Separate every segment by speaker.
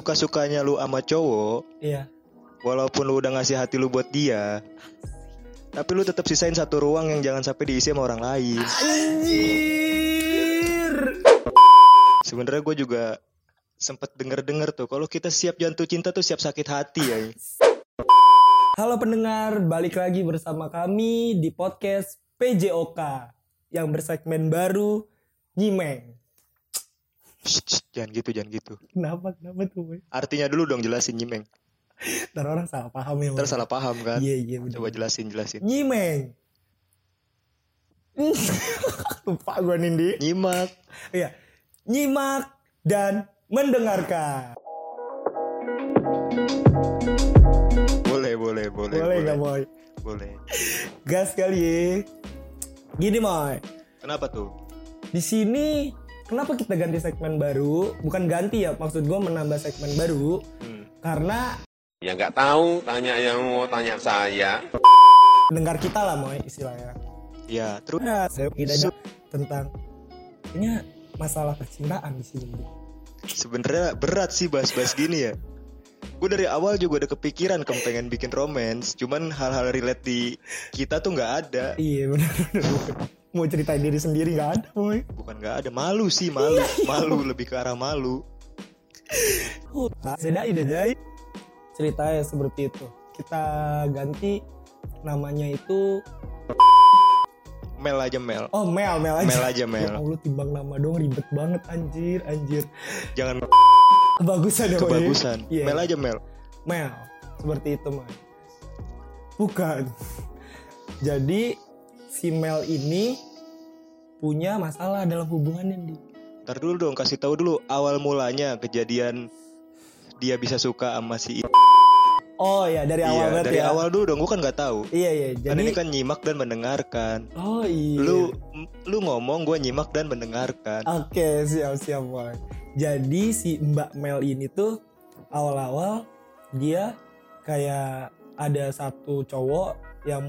Speaker 1: sesuka-sukanya lu sama cowok,
Speaker 2: Iya.
Speaker 1: walaupun lu udah ngasih hati lu buat dia, tapi lu tetap sisain satu ruang yang jangan sampai diisi sama orang lain.
Speaker 2: Anjir.
Speaker 1: Sebenarnya gue juga sempet denger-denger tuh, kalau kita siap jantung cinta tuh siap sakit hati ya.
Speaker 2: Halo pendengar, balik lagi bersama kami di podcast PJOK yang bersegmen baru Nyimeng.
Speaker 1: Shh, shh, jangan gitu, jangan gitu.
Speaker 2: Kenapa? Kenapa tuh, Boy?
Speaker 1: Artinya dulu dong jelasin nyimeng.
Speaker 2: Ntar orang salah paham ya, Boy.
Speaker 1: Ntar salah paham kan?
Speaker 2: Iya, iya, bener.
Speaker 1: Coba jelasin, jelasin.
Speaker 2: Nyimeng. Lupa gue Nindi.
Speaker 1: Nyimak.
Speaker 2: Iya. Nyimak dan mendengarkan.
Speaker 1: Boleh, boleh, boleh.
Speaker 2: Boleh nggak, Boy?
Speaker 1: boleh.
Speaker 2: Gas kali ya. Gini, Boy.
Speaker 1: Kenapa tuh?
Speaker 2: di sini kenapa kita ganti segmen baru bukan ganti ya maksud gue menambah segmen baru
Speaker 1: Hmm.
Speaker 2: karena
Speaker 3: Ya nggak tahu, tanya yang mau tanya saya.
Speaker 2: dengar kita lah moy istilahnya
Speaker 1: Ya, terus
Speaker 2: nah, saya kita ada tentang ini masalah percintaan di sini
Speaker 1: sebenarnya berat sih bahas-bahas gini ya. Gue dari awal juga udah kepikiran kem pengen bikin romance, cuman hal-hal relate di kita tuh nggak ada,
Speaker 2: iya benar mau ceritain diri sendiri nggak ada moy
Speaker 1: bukan nggak ada, malu sih malu,
Speaker 2: Iya.
Speaker 1: malu lebih ke arah malu.
Speaker 2: sedai deh jadi ceritanya seperti itu kita ganti namanya itu
Speaker 1: Mel aja Mel,
Speaker 2: oh Mel Mel aja
Speaker 1: Mel aja
Speaker 2: Ya
Speaker 1: Mel,
Speaker 2: Allah timbang nama dong ribet banget anjir anjir
Speaker 1: jangan
Speaker 2: kebagusan ya Moy.
Speaker 1: kebagusan,
Speaker 2: Iya.
Speaker 1: Mel aja Mel.
Speaker 2: Mel seperti itu Mel bukan jadi si Mel ini punya masalah dalam hubungannya Di.
Speaker 1: Ntar dulu dong, kasih tahu dulu awal mulanya kejadian dia bisa suka sama si I-
Speaker 2: oh ya dari awal
Speaker 1: Iya,
Speaker 2: berarti
Speaker 1: dari
Speaker 2: Iya, ya.
Speaker 1: awal dulu dong, gue kan nggak tahu.
Speaker 2: iya iya
Speaker 1: Kan
Speaker 2: jadi
Speaker 1: ini kan nyimak dan mendengarkan.
Speaker 2: oh iya Ah,
Speaker 1: Lu lu ngomong, gue nyimak dan mendengarkan.
Speaker 2: oke siap siap Boy jadi si Mbak Mel ini tuh awal-awal dia kayak ada satu cowok yang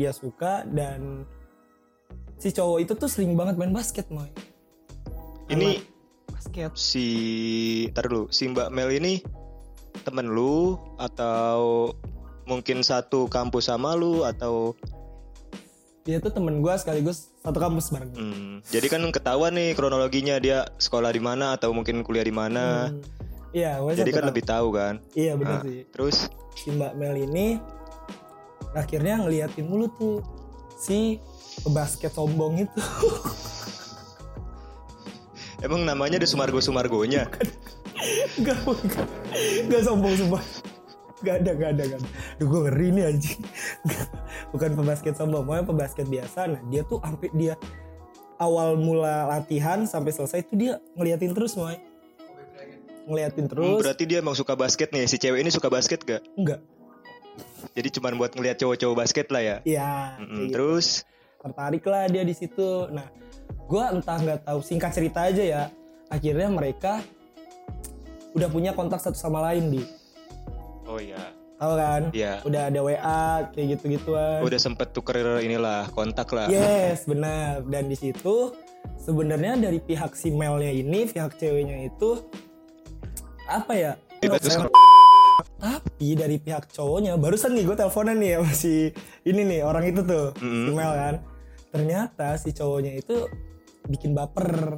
Speaker 2: dia suka dan si cowok itu tuh sering banget main basket Moy
Speaker 1: Ini
Speaker 2: basket
Speaker 1: si ntar dulu si Mbak Mel ini temen lu atau mungkin satu kampus sama lu atau
Speaker 2: dia tuh temen gue sekaligus satu kampus bareng gue.
Speaker 1: hmm, jadi kan ketahuan nih kronologinya dia sekolah di mana atau mungkin kuliah di mana
Speaker 2: Hmm. Iya, gue
Speaker 1: jadi
Speaker 2: satu
Speaker 1: kan
Speaker 2: kampus.
Speaker 1: lebih tahu kan
Speaker 2: Iya benar
Speaker 1: Ah.
Speaker 2: sih.
Speaker 1: terus
Speaker 2: Si Mbak Mel ini akhirnya ngeliatin mulu tuh si basket sombong itu.
Speaker 1: emang namanya ada Sumargo Sumargonya
Speaker 2: gak, gak, gak sombong sumpah. Gak ada, gak ada, gak ada. Duh gue ngeri nih anjing. Nggak, Bukan pebasket sombong, pokoknya pebasket biasa. Nah dia tuh sampai dia awal mula latihan sampai selesai itu dia ngeliatin terus moy.
Speaker 1: Hmm,
Speaker 2: Ngeliatin terus.
Speaker 1: berarti dia emang suka basket nih si cewek ini suka basket gak
Speaker 2: Enggak.
Speaker 1: jadi cuman buat ngeliat cowok-cowok basket lah ya
Speaker 2: Ya.
Speaker 1: Mm-mm,
Speaker 2: kayak gitu.
Speaker 1: terus
Speaker 2: tertarik lah dia di situ. Nah, gua entah nggak tahu singkat cerita aja ya. Akhirnya mereka udah punya kontak satu sama lain di,
Speaker 1: oh iya
Speaker 2: tahu kan?
Speaker 1: ya
Speaker 2: Udah ada WA kayak gitu gituan.
Speaker 1: udah sempet tuker inilah kontak lah
Speaker 2: Yes, benar. Dan di situ sebenarnya dari pihak si Melnya ini, pihak ceweknya itu apa ya?
Speaker 1: Tiba-tiba sekarang-
Speaker 2: Tapi dari pihak cowoknya barusan nih gue teleponan nih ya masih ini nih orang itu tuh si
Speaker 1: Mm-mm.
Speaker 2: Mel kan. Ternyata si cowoknya itu bikin baper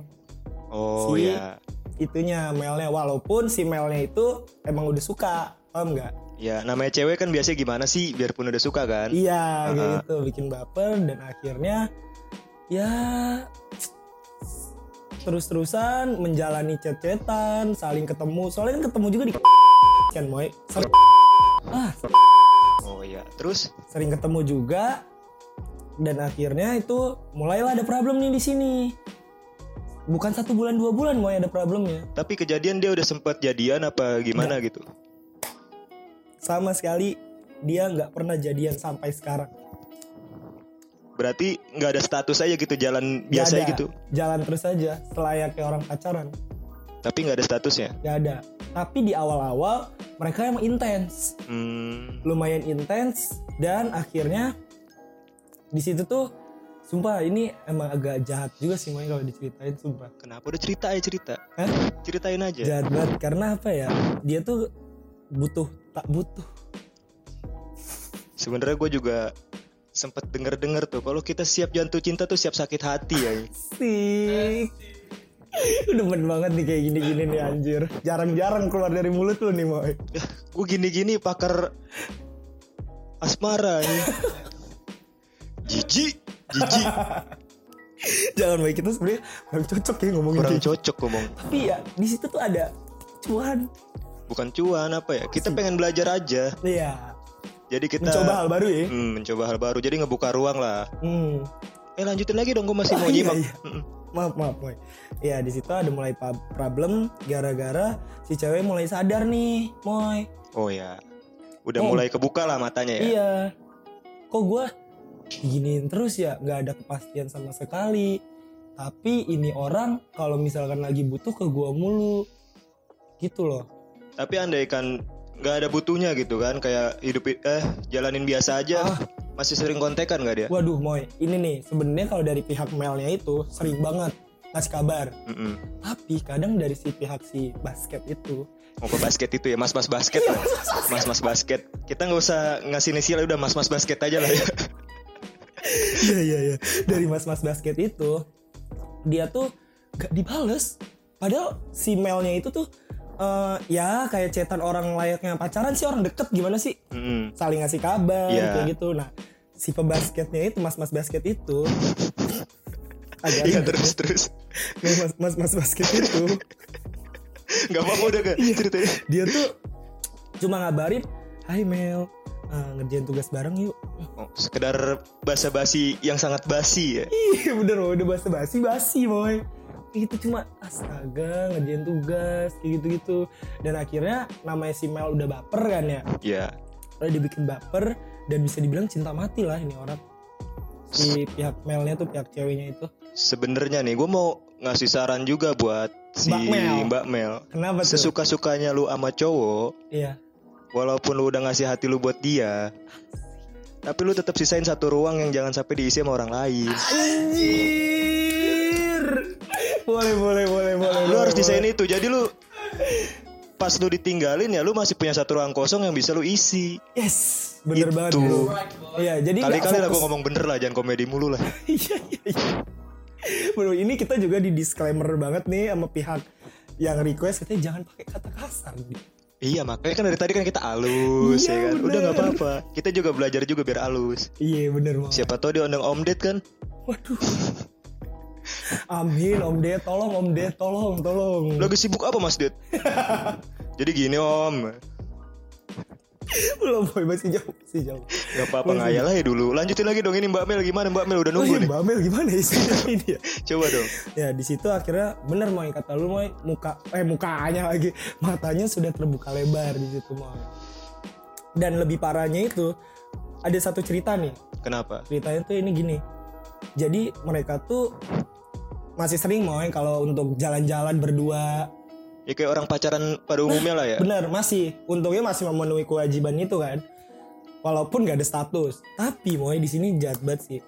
Speaker 1: oh
Speaker 2: Si-
Speaker 1: ya
Speaker 2: itunya Melnya walaupun si Melnya itu emang udah suka paham nggak?
Speaker 1: Ya, namanya cewek kan biasanya gimana sih biarpun udah suka kan?
Speaker 2: Iya kayak
Speaker 1: Uh-uh.
Speaker 2: gitu bikin baper dan akhirnya ya terus-terusan menjalani chat-chatan saling ketemu soalnya kan ketemu juga di kan moy sering, ah,
Speaker 1: Oh iya. Terus
Speaker 2: sering ketemu juga dan akhirnya itu mulailah ada problem nih di sini bukan satu bulan dua bulan moy ada problemnya
Speaker 1: tapi kejadian dia udah sempat jadian apa gimana
Speaker 2: Iya.
Speaker 1: gitu?
Speaker 2: sama sekali dia nggak pernah jadian sampai sekarang
Speaker 1: Berarti nggak ada status aja gitu jalan biasa
Speaker 2: Nggak ada.
Speaker 1: gitu.
Speaker 2: jalan terus aja selayaknya orang pacaran
Speaker 1: Tapi nggak ada statusnya.
Speaker 2: nggak ada tapi di awal-awal mereka emang intens
Speaker 1: Hmm.
Speaker 2: lumayan intens dan akhirnya di situ tuh Sumpah ini emang agak jahat juga sih Mai kalau diceritain sumpah.
Speaker 1: Kenapa udah cerita aja cerita?
Speaker 2: Hah?
Speaker 1: Ceritain aja.
Speaker 2: Jahat banget karena apa ya? Dia tuh butuh tak butuh.
Speaker 1: Sebenarnya gue juga sempet denger-denger tuh kalau kita siap jantung cinta tuh siap sakit hati ya.
Speaker 2: Sih. Udah demen banget nih kayak gini-gini nih anjir. Jarang-jarang keluar dari mulut lu nih Moy.
Speaker 1: gue gini-gini pakar asmara ya. Jijik, jijik.
Speaker 2: Jangan Moy kita sebenarnya kurang cocok ya ngomongin
Speaker 1: Kurang
Speaker 2: kayak gitu.
Speaker 1: cocok ngomong.
Speaker 2: Tapi ya di situ tuh ada cuan.
Speaker 1: Bukan cuan apa ya? Kita pengen belajar aja.
Speaker 2: Iya.
Speaker 1: Jadi kita
Speaker 2: Hmm. Mencoba hal baru ya.
Speaker 1: Hmm, mencoba hal baru. Jadi ngebuka ruang lah.
Speaker 2: Hmm.
Speaker 1: Eh lanjutin lagi dong gue masih
Speaker 2: Oh,
Speaker 1: mau
Speaker 2: iya,
Speaker 1: nyimak.
Speaker 2: iya.
Speaker 1: Mm-mm.
Speaker 2: Maaf maaf Moy. Ya di situ ada mulai pa- problem gara-gara si cewek mulai sadar nih Moy.
Speaker 1: Oh ya. Udah
Speaker 2: Oh.
Speaker 1: mulai kebuka lah matanya ya.
Speaker 2: Iya. Kok gue diginiin terus ya, nggak ada kepastian sama sekali. Tapi ini orang kalau misalkan lagi butuh ke gue mulu, gitu loh.
Speaker 1: Tapi andaikan nggak ada butuhnya gitu kan kayak hidup eh jalanin biasa aja.
Speaker 2: Ah.
Speaker 1: Masih sering kontekan nggak dia?
Speaker 2: Waduh, moy, ini nih sebenarnya kalau dari pihak melnya itu sering banget ngasih kabar.
Speaker 1: Mm-mm.
Speaker 2: Tapi kadang dari si pihak si basket itu,
Speaker 1: Mau ke basket itu ya, mas-mas basket
Speaker 2: Iya.
Speaker 1: lah. Mas-mas basket. Kita nggak usah ngasih inisial udah mas-mas basket aja lah ya.
Speaker 2: iya iya iya, dari mas-mas basket itu dia tuh gak dibales. Padahal si melnya itu tuh eh, ya kayak cetan orang layaknya pacaran sih orang deket gimana sih?
Speaker 1: Mm-mm.
Speaker 2: saling ngasih kabar
Speaker 1: Iya.
Speaker 2: kayak gitu. Nah, si pebasketnya itu mas-mas basket itu agak
Speaker 1: Iya
Speaker 2: agak-
Speaker 1: terus terus.
Speaker 2: mas, mas mas basket itu
Speaker 1: Gak apa-apa udah kan
Speaker 2: Iya.
Speaker 1: ceritanya.
Speaker 2: dia tuh cuma ngabarin, "Hai Mel, eh, ngerjain tugas bareng yuk."
Speaker 1: Oh, sekedar basa-basi yang sangat basi ya.
Speaker 2: Iya bener woy, udah basa basi basi boy itu cuma astaga ngerjain tugas kayak gitu gitu dan akhirnya namanya si Mel udah baper kan ya
Speaker 1: Iya.
Speaker 2: udah dibikin baper dan bisa dibilang cinta mati lah ini orang si pihak Melnya tuh pihak ceweknya itu
Speaker 1: Sebenarnya nih gue mau ngasih saran juga buat si
Speaker 2: Mbak Mel.
Speaker 1: Mbak Mel.
Speaker 2: kenapa tuh?
Speaker 1: Sesuka-sukanya lu sama cowok,
Speaker 2: Iya.
Speaker 1: walaupun lu udah ngasih hati lu buat dia, tapi lu tetap sisain satu ruang yang jangan sampai diisi sama orang lain.
Speaker 2: Anjir. Boleh, boleh, boleh, boleh.
Speaker 1: Lu harus
Speaker 2: boleh.
Speaker 1: sisain itu. Jadi lu pas lu ditinggalin ya lu masih punya satu ruang kosong yang bisa lu isi.
Speaker 2: Yes, bener
Speaker 1: Itu.
Speaker 2: banget. Bro. Iya, jadi nggak
Speaker 1: Kali-kali lah
Speaker 2: fokus.
Speaker 1: gue ngomong bener lah, jangan komedi mulu lah.
Speaker 2: Iya, iya, iya. Bro, ini kita juga di disclaimer banget nih sama pihak yang request katanya jangan pakai kata kasar.
Speaker 1: Iya makanya kan dari tadi kan kita alus
Speaker 2: Iya,
Speaker 1: ya kan. Udah nggak
Speaker 2: bener.
Speaker 1: apa-apa. Kita juga belajar juga biar alus.
Speaker 2: Iya, bener banget.
Speaker 1: Siapa tahu dia undang Om Ded kan.
Speaker 2: Waduh. Amin, Om Ded, tolong Om Ded, tolong, tolong.
Speaker 1: Lagi sibuk apa Mas Ded? Jadi gini Om,
Speaker 2: Belum, boy, masih jauh, masih jauh.
Speaker 1: Gak apa-apa ngayal aja dulu. Lanjutin lagi dong ini Mbak Mel gimana Mbak Mel udah
Speaker 2: Oh,
Speaker 1: nunggu
Speaker 2: iya,
Speaker 1: nih.
Speaker 2: Mbak Mel gimana isinya ini ya?
Speaker 1: Coba dong.
Speaker 2: ya di situ akhirnya bener mau kata lu mau muka eh mukanya lagi matanya sudah terbuka lebar di situ mau dan lebih parahnya itu ada satu cerita nih
Speaker 1: Kenapa?
Speaker 2: ceritanya tuh ini gini jadi mereka tuh masih sering mau kalau untuk jalan-jalan berdua
Speaker 1: Ya kayak orang pacaran pada umumnya lah ya.
Speaker 2: bener masih untungnya masih memenuhi kewajiban itu kan walaupun gak ada status tapi mau di sini jahat banget sih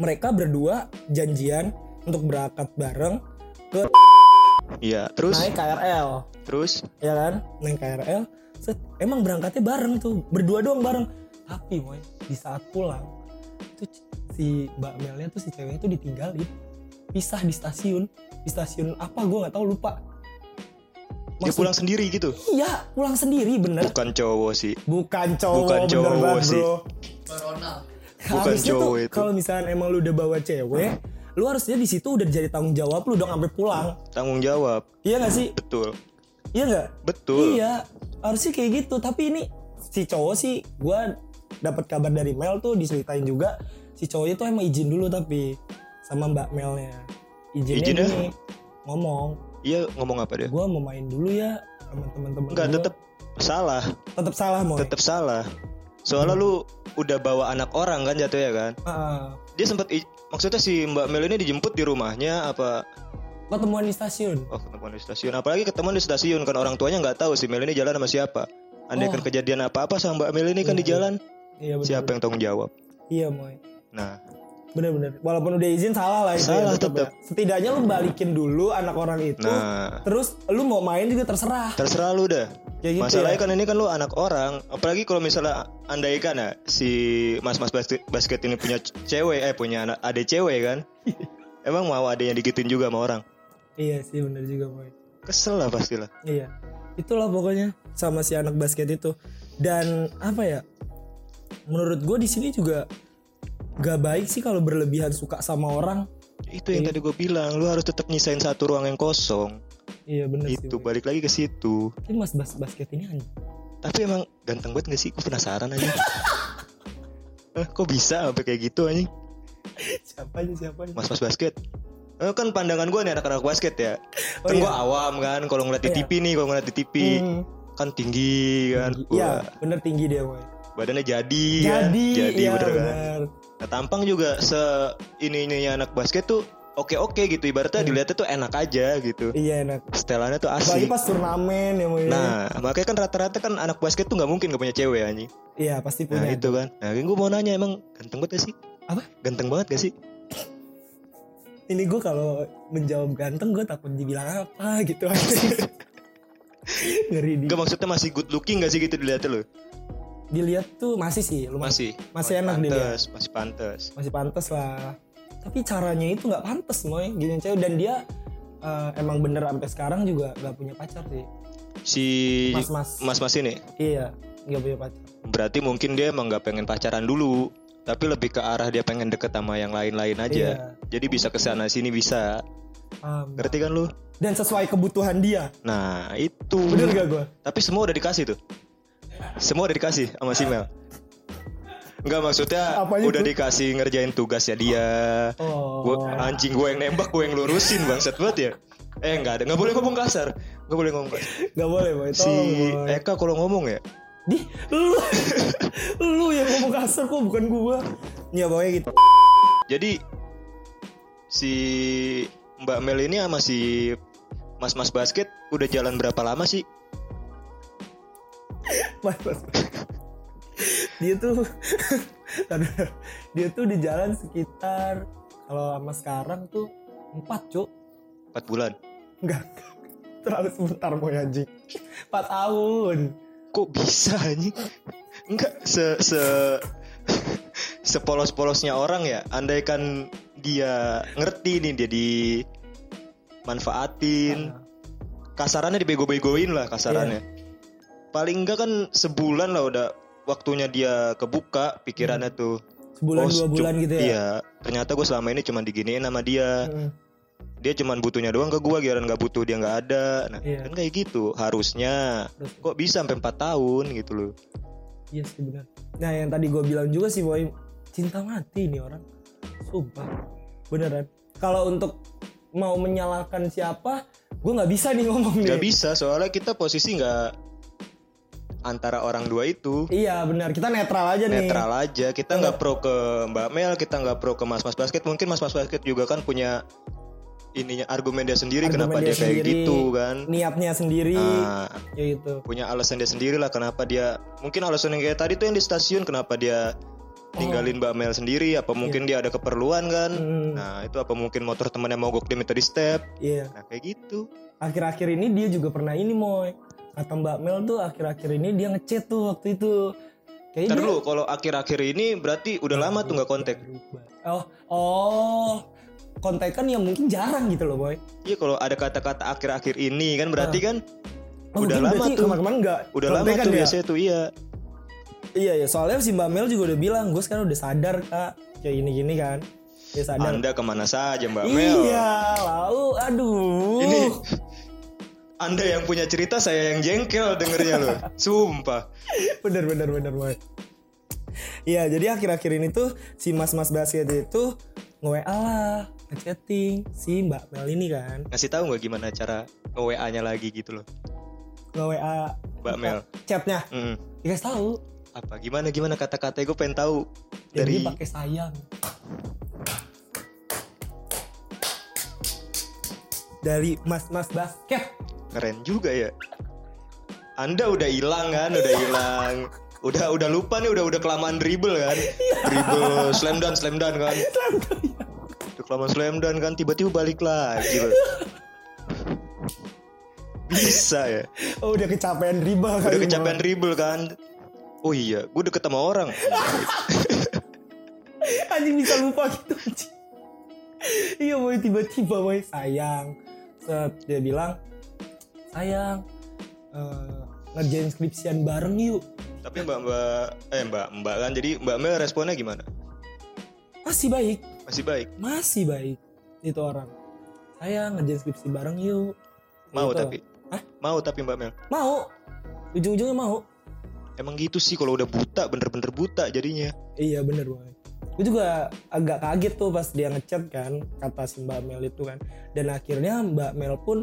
Speaker 2: mereka berdua janjian untuk berangkat bareng ke
Speaker 1: Iya. Terus
Speaker 2: naik KRL
Speaker 1: terus
Speaker 2: ya kan naik KRL set, emang berangkatnya bareng tuh berdua doang bareng tapi boy di saat pulang tuh c- si mbak Melnya tuh si ceweknya tuh ditinggalin pisah di stasiun di stasiun apa gue nggak tahu lupa
Speaker 1: dia
Speaker 2: Maksud-
Speaker 1: pulang sendiri gitu.
Speaker 2: iya pulang sendiri bener
Speaker 1: Bukan cowok sih.
Speaker 2: bukan cowok
Speaker 1: Bukan
Speaker 2: bener
Speaker 1: cowok
Speaker 2: banget,
Speaker 1: sih.
Speaker 2: bro.
Speaker 1: Bukan
Speaker 2: Harusnya
Speaker 1: cowok
Speaker 2: tuh
Speaker 1: itu.
Speaker 2: kalau misalnya emang lu udah bawa cewek lu harusnya di situ udah jadi tanggung jawab lu dong sampai pulang
Speaker 1: Tanggung jawab.
Speaker 2: iya gak sih
Speaker 1: Betul.
Speaker 2: iya gak
Speaker 1: Betul.
Speaker 2: Iya, harusnya kayak gitu. Tapi ini si cowok sih, gue dapat kabar dari Mel tuh diceritain juga si cowoknya tuh emang izin dulu tapi sama Mbak Melnya. Izinnya,
Speaker 1: Izinnya?
Speaker 2: gini, ngomong,
Speaker 1: Iya ngomong apa dia?
Speaker 2: gue mau main dulu ya sama teman-teman.
Speaker 1: Enggak
Speaker 2: gua." Oh.
Speaker 1: tetep salah.
Speaker 2: tetep salah mau.
Speaker 1: Tetep salah. Soalnya lu udah bawa anak orang kan jatuhnya kan. Dia sempat maksudnya si Mbak Mel ini dijemput di rumahnya apa
Speaker 2: ketemuan di stasiun.
Speaker 1: Oh ketemuan di stasiun Apalagi ketemuan di stasiun Kan orang tuanya nggak tahu si Mel ini jalan sama siapa Andai kan
Speaker 2: Oh.
Speaker 1: kejadian apa-apa sama Mbak Mel ini kan
Speaker 2: Iya,
Speaker 1: di jalan
Speaker 2: Iya betul.
Speaker 1: Siapa yang tanggung jawab
Speaker 2: Iya moy.
Speaker 1: Nah
Speaker 2: bener-bener walaupun udah izin salah lah itu ya,
Speaker 1: Salah,
Speaker 2: tetep ya.
Speaker 1: tetep.
Speaker 2: setidaknya lu balikin dulu anak orang itu
Speaker 1: Nah.
Speaker 2: terus lu mau main juga terserah
Speaker 1: Terserah lu dah.
Speaker 2: Ya gitu
Speaker 1: Masalahnya
Speaker 2: ya.
Speaker 1: kan ini kan lu anak orang, apalagi kalau misalnya andaikan ya si mas-mas basket, basket ini punya c- cewek eh punya anak adik cewek kan. Emang mau adiknya digituin juga sama orang?
Speaker 2: iya sih bener juga boy
Speaker 1: Kesel lah pastilah.
Speaker 2: Iya. Itulah pokoknya sama si anak basket itu. Dan apa ya? Menurut gue di sini juga gak baik sih kalau berlebihan suka sama orang.
Speaker 1: Itu yang tadi
Speaker 2: Iya.
Speaker 1: gue bilang, lu harus tetap nyisain satu ruang yang kosong.
Speaker 2: Iya bener sih.
Speaker 1: itu
Speaker 2: Boy.
Speaker 1: balik lagi ke situ.
Speaker 2: Tapi mas bas basket ini anj-
Speaker 1: Tapi emang ganteng banget gak sih? Gue penasaran aja. Eh, kok bisa sampai kayak gitu anjing?
Speaker 2: siapa aja siapa aja.
Speaker 1: Mas-mas basket. Eh, kan pandangan gue nih anak-anak basket ya.
Speaker 2: Oh,
Speaker 1: kan
Speaker 2: iya.
Speaker 1: gue awam kan kalau ngeliat di
Speaker 2: Iya.
Speaker 1: TV nih, kalau ngeliat di TV.
Speaker 2: Hmm.
Speaker 1: Kan tinggi kan.
Speaker 2: Iya
Speaker 1: Wah,
Speaker 2: bener tinggi dia boy.
Speaker 1: badannya jadi.
Speaker 2: Jadi,
Speaker 1: kan? jadi
Speaker 2: iya,
Speaker 1: bener kan.
Speaker 2: bener.
Speaker 1: Nah, tampang juga se ininya anak basket tuh oke-oke gitu. Ibaratnya dilihatnya tuh enak aja gitu.
Speaker 2: Hmm. Iya enak.
Speaker 1: Setelannya tuh
Speaker 2: Apalagi
Speaker 1: asik.
Speaker 2: pas turnamen ya boy.
Speaker 1: Nah, makanya kan rata-rata kan anak basket tuh nggak mungkin gak punya cewek anjing.
Speaker 2: Iya pasti
Speaker 1: Nah
Speaker 2: punya.
Speaker 1: itu kan. Nah gue mau nanya emang ganteng banget gak sih?
Speaker 2: Apa?
Speaker 1: Ganteng banget gak sih?
Speaker 2: Ini gue kalau menjawab ganteng gue takut dibilang apa gitu. Ngeri di.
Speaker 1: Enggak maksudnya masih good looking gak sih gitu dilihat lo?
Speaker 2: Dilihat tuh masih sih lumayan.
Speaker 1: Masih.
Speaker 2: Masih enak dilihat.
Speaker 1: pantes, Masih pantas.
Speaker 2: masih pantas lah tapi caranya itu nggak pantas moy gini cewek dan dia eh, emang bener sampai sekarang juga nggak punya pacar sih
Speaker 1: Si
Speaker 2: mas mas
Speaker 1: mas-mas ini
Speaker 2: iya nggak punya pacar
Speaker 1: berarti mungkin dia emang nggak pengen pacaran dulu, tapi lebih ke arah dia pengen deket sama yang lain-lain
Speaker 2: iya
Speaker 1: aja. Jadi bisa ke sana sini bisa.
Speaker 2: paham.
Speaker 1: Ngerti kan lu?
Speaker 2: dan sesuai kebutuhan dia
Speaker 1: Nah, itu.
Speaker 2: bener gak gue
Speaker 1: Tapi semua udah dikasih tuh. Semua udah dikasih sama si Mel. Enggak maksudnya
Speaker 2: Apanya
Speaker 1: udah
Speaker 2: tuh?
Speaker 1: dikasih ngerjain tugasnya dia.
Speaker 2: oh
Speaker 1: Gua, anjing gue yang nembak, gue yang lurusin bangsat banget ya. Eh nggak ada, nggak boleh ngomong kasar, nggak boleh ngomong kasar.
Speaker 2: nggak boleh boy
Speaker 1: Si
Speaker 2: tolong boy
Speaker 1: Eka kalau ngomong ya,
Speaker 2: di lu lu yang ngomong kasar kok bukan gue ya boy gitu
Speaker 1: jadi si Mbak Mel ini sama si Mas Mas Basket udah jalan berapa lama sih?
Speaker 2: Mas, mas. dia tuh Aduh, dia tuh di jalan sekitar kalau sama sekarang tuh empat cuk
Speaker 1: 4 bulan.
Speaker 2: enggak terlalu sebentar mau anjing empat tahun
Speaker 1: Kok bisa anjing? Enggak se se sepolos-polosnya orang ya. Andaikan dia ngerti nih dia dimanfaatin. kasarannya dibego-begoin lah kasarannya.
Speaker 2: Iya.
Speaker 1: Paling enggak kan sebulan lah udah waktunya dia kebuka pikirannya tuh.
Speaker 2: sebulan
Speaker 1: Oh,
Speaker 2: dua
Speaker 1: cu-
Speaker 2: Hmm. bulan gitu ya
Speaker 1: Iya, ternyata gue selama ini cuman diginiin sama dia.
Speaker 2: Mm.
Speaker 1: Dia cuman butuhnya doang ke gue, giliran nggak butuh dia nggak ada. Nah,
Speaker 2: Iya.
Speaker 1: kan kayak gitu harusnya.
Speaker 2: Terus,
Speaker 1: Kok bisa sampai 4 tahun gitu loh.
Speaker 2: iya sih benar nah yang tadi gue bilang juga sih boy cinta mati nih orang sumpah beneran kalau untuk mau menyalahkan siapa gue nggak bisa nih ngomong nih
Speaker 1: Nggak bisa, soalnya kita posisi nggak antara orang dua itu.
Speaker 2: iya benar kita netral aja nih
Speaker 1: netral aja kita
Speaker 2: Iya.
Speaker 1: nggak pro ke Mbak Mel kita nggak pro ke Mas Mas Basket mungkin Mas Mas Basket juga kan punya ininya argumen dia sendiri
Speaker 2: Argumen
Speaker 1: kenapa dia, kayak
Speaker 2: sendiri,
Speaker 1: gitu kan
Speaker 2: niatnya sendiri
Speaker 1: nah,
Speaker 2: ya gitu
Speaker 1: punya alasan dia sendiri lah kenapa dia mungkin alasan yang kayak tadi tuh yang di stasiun kenapa dia tinggalin Mbak Mel sendiri apa mungkin dia ada keperluan kan
Speaker 2: Oh. Iya. Hmm.
Speaker 1: nah itu apa mungkin motor temannya mogok dia minta di step
Speaker 2: iya
Speaker 1: nah kayak gitu
Speaker 2: akhir-akhir ini dia juga pernah ini moy kata Mbak Mel tuh akhir-akhir ini dia ngechat tuh waktu itu kayaknya
Speaker 1: Ntar
Speaker 2: dia-
Speaker 1: lu kalau akhir-akhir ini berarti udah lama tuh nggak kontak
Speaker 2: oh oh kontekan yang mungkin jarang gitu loh boy
Speaker 1: iya kalau ada kata-kata akhir-akhir ini kan berarti kan
Speaker 2: Oh,
Speaker 1: Udah
Speaker 2: mungkin
Speaker 1: lama
Speaker 2: berarti
Speaker 1: tuh.
Speaker 2: kemarin-kemarin nggak
Speaker 1: udah lama
Speaker 2: Ah. kontekan
Speaker 1: tuh
Speaker 2: ya?
Speaker 1: biasanya tuh iya
Speaker 2: iya ya soalnya si Mbak Mel juga udah bilang gue sekarang udah sadar kak kayak gini-gini kan dia sadar
Speaker 1: Anda kemana saja Mbak Mel?
Speaker 2: iya Uh. lalu aduh
Speaker 1: Ini Anda yang punya cerita saya yang jengkel dengernya loh. Sumpah.
Speaker 2: bener bener bener boy Iya jadi akhir-akhir ini tuh si mas-mas basket itu nge-WA lah ngechatting si Mbak Mel ini kan
Speaker 1: Ngasih tahu nggak gimana cara WA-nya lagi gitu loh.
Speaker 2: nge-WA
Speaker 1: Mbak Mel.
Speaker 2: chatnya
Speaker 1: Mm.
Speaker 2: ya guys tahu
Speaker 1: Apa gimana gimana kata-katanya gue pengen tahu
Speaker 2: dari
Speaker 1: dari
Speaker 2: pakai sayang dari mas-mas basket
Speaker 1: keren juga ya. Anda udah hilang kan, udah hilang. udah udah lupa nih udah udah kelamaan dribble kan dribble slam dunk slam dunk kan udah kelamaan slam dunk kan tiba-tiba balik lagi loh. bisa ya
Speaker 2: Oh udah kecapean dribble kali
Speaker 1: udah
Speaker 2: Bang.
Speaker 1: kecapean dribble kan oh iya gue deket sama orang
Speaker 2: Anjing bisa lupa gitu anjing. Iya boy tiba-tiba boy sayang Set, Dia bilang Sayang eh, Ngerjain skripsian bareng yuk
Speaker 1: tapi mbak mbak eh mbak mbak kan jadi mbak Mel responnya gimana
Speaker 2: Masih baik
Speaker 1: masih baik
Speaker 2: Masih baik Itu orang Sayang ngerjain skripsi bareng yuk
Speaker 1: mau
Speaker 2: Gitu.
Speaker 1: tapi
Speaker 2: Hah?
Speaker 1: mau tapi mbak Mel
Speaker 2: Mau Ujung-ujungnya mau
Speaker 1: emang gitu sih kalau udah buta bener-bener buta jadinya
Speaker 2: Iya bener banget Gue juga agak kaget tuh pas dia ngechat kan Kata si Mbak Mel itu kan Dan akhirnya Mbak Mel pun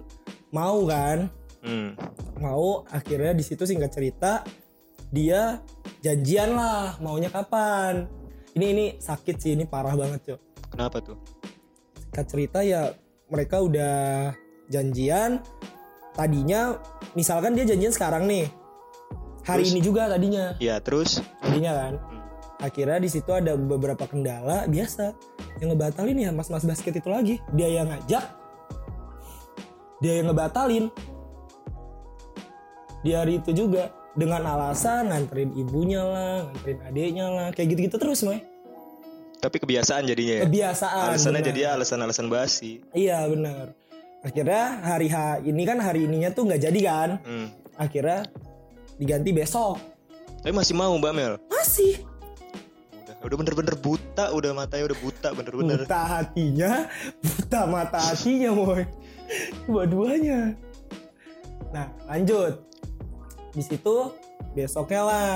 Speaker 2: mau kan
Speaker 1: hmm.
Speaker 2: Mau akhirnya di situ singkat cerita Dia janjian lah maunya kapan Ini ini sakit sih ini parah banget cuy
Speaker 1: kenapa tuh
Speaker 2: Singkat cerita ya mereka udah janjian Tadinya misalkan dia janjian sekarang nih Hari
Speaker 1: Terus?
Speaker 2: ini juga tadinya
Speaker 1: ya terus
Speaker 2: tadinya kan
Speaker 1: Hmm.
Speaker 2: akhirnya di situ ada beberapa kendala biasa yang ngebatalin ya mas-mas basket itu lagi dia yang ngajak dia yang ngebatalin di hari itu juga dengan alasan nganterin ibunya lah nganterin adiknya lah kayak gitu-gitu terus Moy
Speaker 1: tapi kebiasaan jadinya ya
Speaker 2: kebiasaan
Speaker 1: alasannya
Speaker 2: benar.
Speaker 1: jadi alasan-alasan basi
Speaker 2: iya benar akhirnya hari H ini kan hari ininya tuh nggak jadi kan
Speaker 1: hmm.
Speaker 2: akhirnya diganti besok
Speaker 1: tapi masih mau mbak Mel
Speaker 2: masih
Speaker 1: udah udah bener-bener buta udah matanya udah buta bener-bener
Speaker 2: buta hatinya buta mata hatinya boy dua-duanya nah lanjut di situ besoknya lah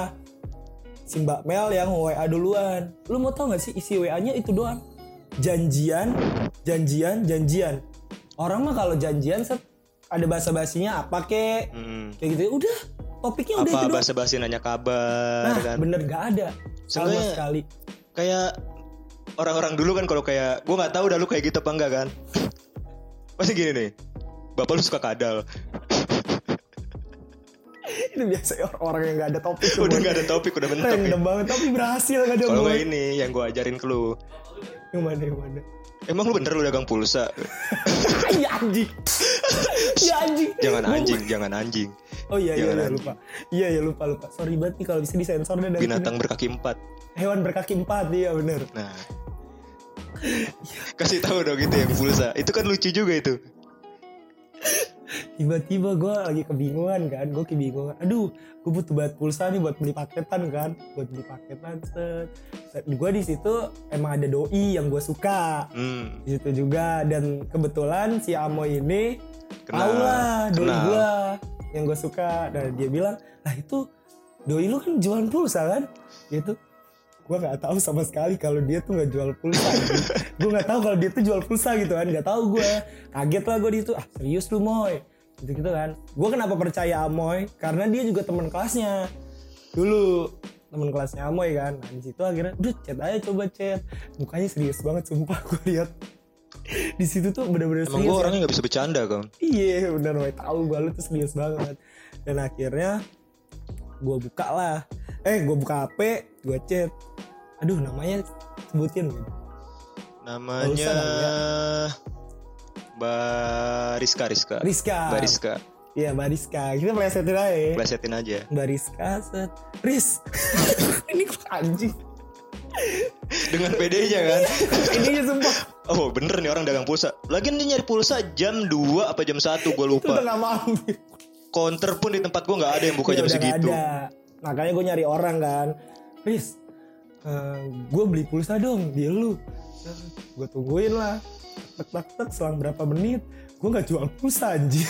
Speaker 2: si Mbak Mel yang WA duluan lu mau tau gak sih isi WA nya itu doang janjian janjian janjian orang mah kalau janjian set ada bahasa basinya apa kek
Speaker 1: Hmm.
Speaker 2: kayak gitu udah topiknya udah itu
Speaker 1: apa
Speaker 2: doang
Speaker 1: bahasa basi nanya kabar
Speaker 2: nah
Speaker 1: kan
Speaker 2: bener gak ada sama
Speaker 1: Seenggaknya-
Speaker 2: sekali
Speaker 1: kayak orang-orang dulu kan kalau kayak gue nggak tahu dah lu kayak gitu apa enggak kan pasti gini nih bapak lu suka kadal
Speaker 2: itu biasa orang yang gak ada topik tuh,
Speaker 1: udah
Speaker 2: Boy.
Speaker 1: nggak ada topik udah mentok ya.
Speaker 2: Random banget tapi berhasil gak ada
Speaker 1: kalau
Speaker 2: boy.
Speaker 1: nggak ini yang gue ajarin ke lu
Speaker 2: Yang mana yang mana?
Speaker 1: emang lu bener lu dagang pulsa
Speaker 2: ya anjing. ya anjing.
Speaker 1: jangan
Speaker 2: Gua-
Speaker 1: anjing jangan anjing
Speaker 2: Oh iya
Speaker 1: Jangan
Speaker 2: iya iya,
Speaker 1: anjing.
Speaker 2: lupa. Iya iya lupa lupa. Sorry banget nih kalau bisa disensor deh dari
Speaker 1: binatang berkaki empat
Speaker 2: sini. hewan berkaki empat iya bener.
Speaker 1: nah
Speaker 2: Iya.
Speaker 1: kasih tahu dong gitu yang pulsa itu kan lucu juga itu
Speaker 2: Tiba-tiba gue lagi kebingungan kan, gue kebingungan. Aduh, gue butuh banget pulsa nih buat beli paketan kan, buat beli paketan. Set. Gue di situ emang ada doi yang gue suka.
Speaker 1: hmm,
Speaker 2: Di situ Gitu juga dan kebetulan si Amo ini
Speaker 1: kenal
Speaker 2: Tahu lah doi
Speaker 1: kenal
Speaker 2: gua yang gue suka dan dia bilang lah itu doi lu kan jualan pulsa kan gitu gue nggak tahu sama sekali kalau dia tuh nggak jual pulsa gue nggak tahu kalau dia tuh jual pulsa gitu kan nggak tahu gue kaget lah gue di situ ah serius lu moy gitu gitu kan gue kenapa percaya Amoy karena dia juga teman kelasnya dulu teman kelasnya Amoy kan nah, di situ akhirnya udah chat aja coba chat mukanya serius banget sumpah gue lihat di situ tuh bener-bener
Speaker 1: emang
Speaker 2: serius
Speaker 1: gue
Speaker 2: ya.
Speaker 1: orangnya nggak bisa bercanda kan
Speaker 2: Iya bener gue tahu gue lu tuh serius banget Dan akhirnya gue buka lah Eh gue buka HP gue chat Aduh namanya sebutin gitu.
Speaker 1: namanya
Speaker 2: Nggak usah,
Speaker 1: Mbak Rizka Rizka
Speaker 2: Rizka
Speaker 1: Mbak Rizka
Speaker 2: Iya Mbak Rizka Kita plesetin aja ya.
Speaker 1: plesetin aja
Speaker 2: Mbak Rizka set Riz Ini kok anjing
Speaker 1: dengan pedenya kan
Speaker 2: Ini sumpah
Speaker 1: oh bener nih orang dagang pulsa lagian dia nyari pulsa jam 2 apa jam 1 gue
Speaker 2: Itu
Speaker 1: lupa
Speaker 2: tengah malam gitu.
Speaker 1: counter pun di tempat gue nggak ada yang buka
Speaker 2: Iya,
Speaker 1: jam
Speaker 2: udah nggak
Speaker 1: segitu
Speaker 2: Ada. Makanya gue nyari orang kan. Riz, gue beli pulsa dong di lu. Gue tungguin lah. Tek tek tek selang berapa menit. Gue nggak jual pulsa anjir.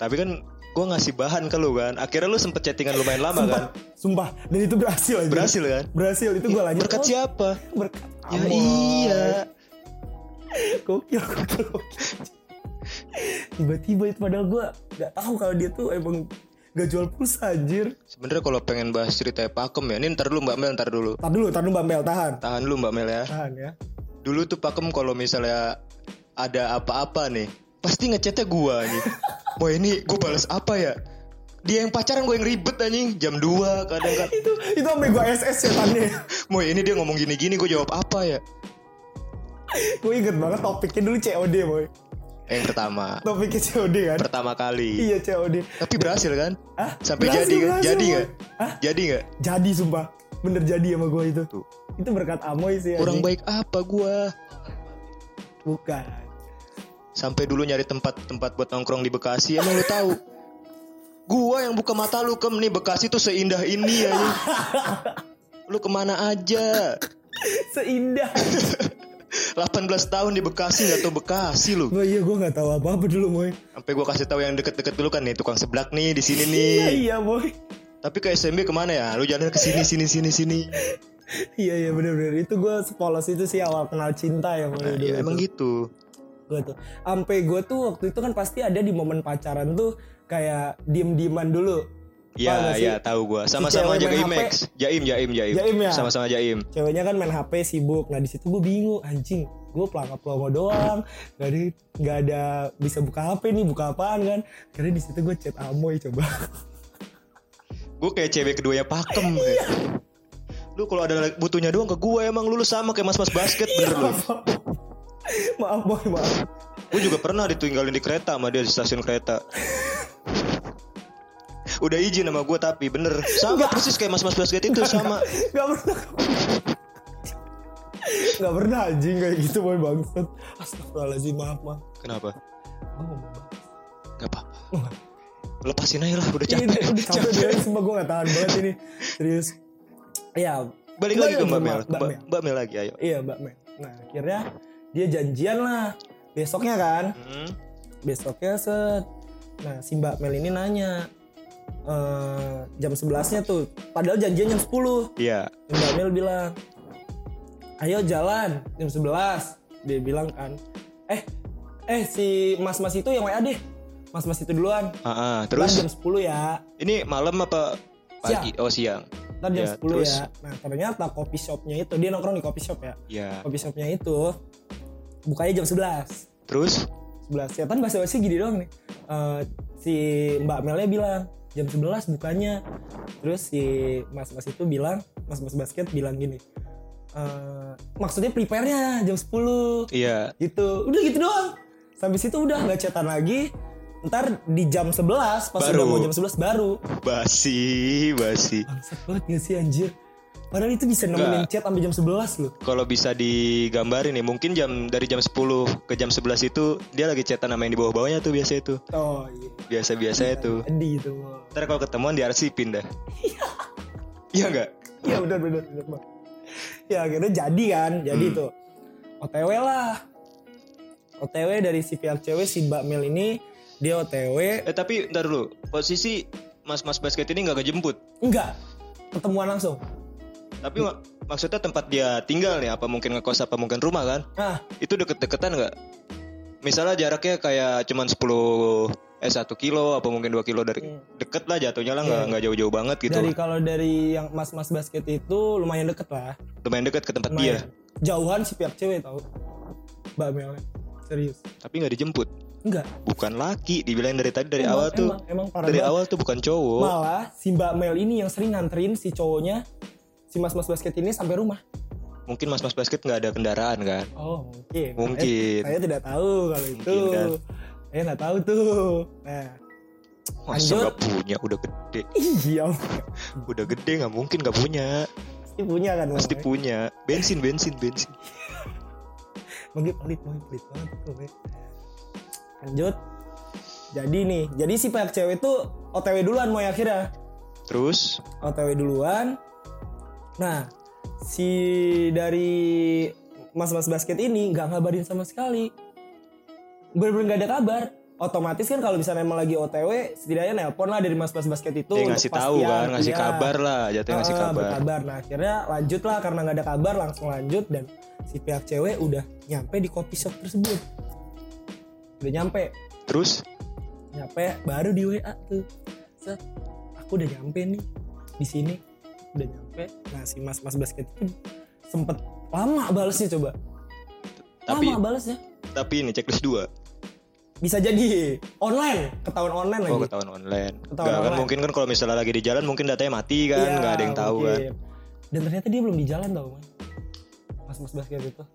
Speaker 1: tapi kan gue ngasih bahan ke lu kan akhirnya lu sempet chattingan lumayan lama kan
Speaker 2: Sumpah, sumpah. Dan itu berhasil anjir.
Speaker 1: berhasil kan
Speaker 2: Berhasil itu gue lanjut.
Speaker 1: berkat
Speaker 2: Oh,
Speaker 1: siapa
Speaker 2: Berkat.
Speaker 1: ya
Speaker 2: Amoy.
Speaker 1: iya
Speaker 2: Gokil, gokil, gokil. Tiba-tiba itu padahal gue nggak tahu kalau dia tuh emang gak jual pulsa anjir.
Speaker 1: sebenarnya kalau pengen bahas ceritanya pakem ya ini ntar dulu mbak Mel ntar dulu
Speaker 2: Tahan dulu, tahan dulu Mbak Mel, tahan.
Speaker 1: tahan dulu mbak Mel ya
Speaker 2: Tahan ya.
Speaker 1: dulu tuh pakem kalau misalnya ada apa-apa nih pasti ngechatnya gua nih Wah ini gue balas apa ya dia yang pacaran gue yang ribet anjing jam 2 kadang kan
Speaker 2: itu itu sampai gue SS setannya
Speaker 1: mau ini dia ngomong gini gini gue jawab apa ya
Speaker 2: gue inget banget topiknya dulu COD boy
Speaker 1: Eh, yang pertama
Speaker 2: topiknya COD kan
Speaker 1: pertama kali
Speaker 2: iya COD
Speaker 1: tapi berhasil kan
Speaker 2: Hah?
Speaker 1: sampai
Speaker 2: Berhasil,
Speaker 1: jadi nggak
Speaker 2: berhasil,
Speaker 1: jadi
Speaker 2: Boy.
Speaker 1: nggak
Speaker 2: Hah?
Speaker 1: jadi nggak
Speaker 2: jadi sumpah bener jadi sama gue itu
Speaker 1: Tuh.
Speaker 2: itu berkat Amoy sih
Speaker 1: kurang
Speaker 2: anjing.
Speaker 1: baik apa gue
Speaker 2: bukan
Speaker 1: sampai dulu nyari tempat-tempat buat nongkrong di Bekasi emang lu tahu gua yang buka mata lu kem nih Bekasi tuh seindah ini ya lu kemana aja
Speaker 2: seindah
Speaker 1: 18 tahun di Bekasi nggak tahu Bekasi lu
Speaker 2: Boy, iya gue nggak tahu apa apa dulu boy
Speaker 1: sampai gua kasih tahu yang deket-deket dulu kan nih tukang seblak nih di sini nih
Speaker 2: iya iya boy
Speaker 1: tapi ke SMB kemana ya lu jalan ke sini sini sini sini
Speaker 2: iya iya bener-bener itu gue sepolos itu sih awal kenal cinta ya boy
Speaker 1: nah,
Speaker 2: dulu
Speaker 1: ya,
Speaker 2: itu.
Speaker 1: emang gitu
Speaker 2: gue tuh sampai gue tuh waktu itu kan pasti ada di momen pacaran tuh kayak diem dieman dulu Paham
Speaker 1: Ya,
Speaker 2: gak sih?
Speaker 1: ya tahu gua. Sama-sama
Speaker 2: cewek
Speaker 1: jaga
Speaker 2: main
Speaker 1: IMAX. Jaim, jaim, jaim.
Speaker 2: Jaim ya?
Speaker 1: Sama-sama jaim.
Speaker 2: ceweknya kan main HP sibuk nah di situ gue bingung anjing gue pelangap pelongo doang gak ada nggak ada bisa buka HP nih buka apaan kan karena di situ gue chat Amoy coba
Speaker 1: Gue kayak cewek keduanya pakem.
Speaker 2: Iya.
Speaker 1: kayak. Lu kalau ada butuhnya doang ke gua emang lu, lu sama kayak mas-mas basket bener
Speaker 2: Iya.
Speaker 1: lu.
Speaker 2: maaf boy maaf
Speaker 1: Gue juga pernah ditinggalin di kereta sama dia di stasiun kereta. Udah izin sama gue tapi bener sama persis kayak mas-mas basket itu sama.
Speaker 2: nggak pernah nggak pernah anjing kayak gitu boy bangsat astagfirullahaladzim maaf maaf
Speaker 1: Kenapa?
Speaker 2: Gua ngomong banget.
Speaker 1: Gak apa. Lepasin aja lah Iya, udah capek.
Speaker 2: Ini Oh. Iya, udah capek beres semua gue gak tahan banget ini Serius Iya
Speaker 1: Balik lagi ke Mbak Mel.
Speaker 2: Mbak
Speaker 1: Mbak
Speaker 2: Mel.
Speaker 1: Mbak Mel lagi ayo.
Speaker 2: Iya Mbak Mel Nah akhirnya dia janjian lah Besoknya kan
Speaker 1: Hmm.
Speaker 2: Besoknya set Nah si Mbak Mel ini nanya eh Jam 11 nya tuh Padahal janjian jam 10
Speaker 1: Iya.
Speaker 2: Mbak Mel bilang, ayo jalan jam 11. Dia bilang kan, eh, eh si mas-mas itu yang WA deh. Mas-mas itu duluan.
Speaker 1: Ah, ah.
Speaker 2: Ntar
Speaker 1: terus
Speaker 2: jam 10 ya.
Speaker 1: ini malam apa pagi? Oh siang.
Speaker 2: Ntar jam
Speaker 1: Ya,
Speaker 2: 10
Speaker 1: terus?
Speaker 2: ya. Nah ternyata kopi shopnya itu, dia nongkrong di kopi shop ya.
Speaker 1: Ya.
Speaker 2: Kopi shopnya itu, bukanya jam 11.
Speaker 1: Terus
Speaker 2: 11 ya kan bahasa basi gini doang nih Eh, si mbak Melnya bilang jam 11 bukanya terus si mas mas itu bilang mas mas basket bilang gini "Eh, maksudnya prepare nya jam 10
Speaker 1: iya.
Speaker 2: gitu udah gitu doang sampai situ udah nggak cetan lagi ntar di jam 11 pas
Speaker 1: Baru.
Speaker 2: udah mau jam 11 baru
Speaker 1: Basi, basi.
Speaker 2: bangsat banget gak sih anjir padahal itu bisa nemenin
Speaker 1: Nggak.
Speaker 2: chat sampai jam 11 loh
Speaker 1: Kalau bisa digambarin nih, mungkin jam dari jam 10 ke jam 11 itu dia lagi chatan sama yang di bawah-bawahnya tuh biasa itu.
Speaker 2: oh iya
Speaker 1: Gitu.
Speaker 2: gitu.
Speaker 1: Biasa-biasa itu.
Speaker 2: Adi itu Wow.
Speaker 1: Ntar kalau ketemuan di RC pindah. Iya enggak?
Speaker 2: Iya benar benar benar Bang. Ya akhirnya jadi kan, jadi
Speaker 1: Hmm.
Speaker 2: tuh OTW lah. OTW dari si pihak cewek si Mbak Mel ini dia OTW
Speaker 1: Eh tapi ntar dulu, posisi mas-mas basket ini nggak kejemput.
Speaker 2: enggak ketemuan langsung.
Speaker 1: Tapi
Speaker 2: Hmm.
Speaker 1: mak- maksudnya tempat dia tinggal nih, apa mungkin ngekos apa mungkin rumah kan?
Speaker 2: Nah,
Speaker 1: Itu deket-deketan nggak? Misalnya jaraknya kayak cuman 10 eh 1 kilo apa mungkin 2 kilo dari deket lah jatuhnya lah nggak nggak jauh-jauh banget gitu.
Speaker 2: Iya. dari kalau dari yang mas-mas basket itu lumayan deket lah.
Speaker 1: lumayan dekat ke tempat dia
Speaker 2: Lumayan. Jauhan si pihak cewek tahu. Mbak Mel serius.
Speaker 1: tapi nggak dijemput
Speaker 2: Enggak.
Speaker 1: bukan laki dibilang dari tadi dari awal
Speaker 2: Emang-
Speaker 1: tuh
Speaker 2: emang- emang parah
Speaker 1: dari
Speaker 2: banget.
Speaker 1: awal tuh bukan cowok
Speaker 2: Malah si Mbak Mel ini yang sering nganterin si cowoknya si mas-mas basket ini sampai rumah.
Speaker 1: mungkin mas mas basket nggak ada kendaraan kan
Speaker 2: Oh mungkin.
Speaker 1: Mungkin.
Speaker 2: Saya, saya tidak tahu kalau itu.
Speaker 1: Mungkin kan.
Speaker 2: Saya nggak tahu tuh. Nah,
Speaker 1: masa
Speaker 2: Lanjut.
Speaker 1: nggak punya udah gede
Speaker 2: iya
Speaker 1: udah gede nggak mungkin nggak punya
Speaker 2: pasti punya kan. Bang,
Speaker 1: pasti
Speaker 2: ya?
Speaker 1: punya bensin bensin bensin
Speaker 2: Bang, dia pelit, Bang, pelit banget tuh. Bang. Lanjut. Jadi nih, jadi si pihak cewek tuh OTW duluan mau ya, akhirnya.
Speaker 1: terus
Speaker 2: OTW duluan. Nah, si dari mas-mas basket ini nggak ngabarin sama sekali. Bener-bener nggak ada kabar. Otomatis kan kalau misalnya emang lagi OTW, setidaknya nelpon lah dari mas-mas basket itu.
Speaker 1: dia Iya,
Speaker 2: untuk
Speaker 1: ngasih tahu
Speaker 2: pastian.
Speaker 1: kan ngasih
Speaker 2: Iya.
Speaker 1: kabar lah jatuhnya ngasih
Speaker 2: Ah,
Speaker 1: kabar
Speaker 2: berkabar. Nah akhirnya lanjut lah karena nggak ada kabar langsung lanjut dan si pihak cewek udah nyampe di kopi shop tersebut. Udah nyampe,
Speaker 1: terus
Speaker 2: nyampe baru di WA tuh set aku udah nyampe nih di sini udah nyampe nah si mas mas basket itu sempet lama balesnya coba
Speaker 1: tapi
Speaker 2: lama balesnya
Speaker 1: tapi ini checklist dua
Speaker 2: bisa jadi online ketahuan online
Speaker 1: Oh
Speaker 2: lagi
Speaker 1: ketahuan online.
Speaker 2: Ketahuan
Speaker 1: Nggak, kan
Speaker 2: online.
Speaker 1: mungkin kan kalau misalnya lagi di jalan mungkin datanya mati kan,
Speaker 2: Iya,
Speaker 1: nggak ada yang tahu kan.
Speaker 2: mungkin. dan ternyata dia belum di jalan tau man mas mas basket itu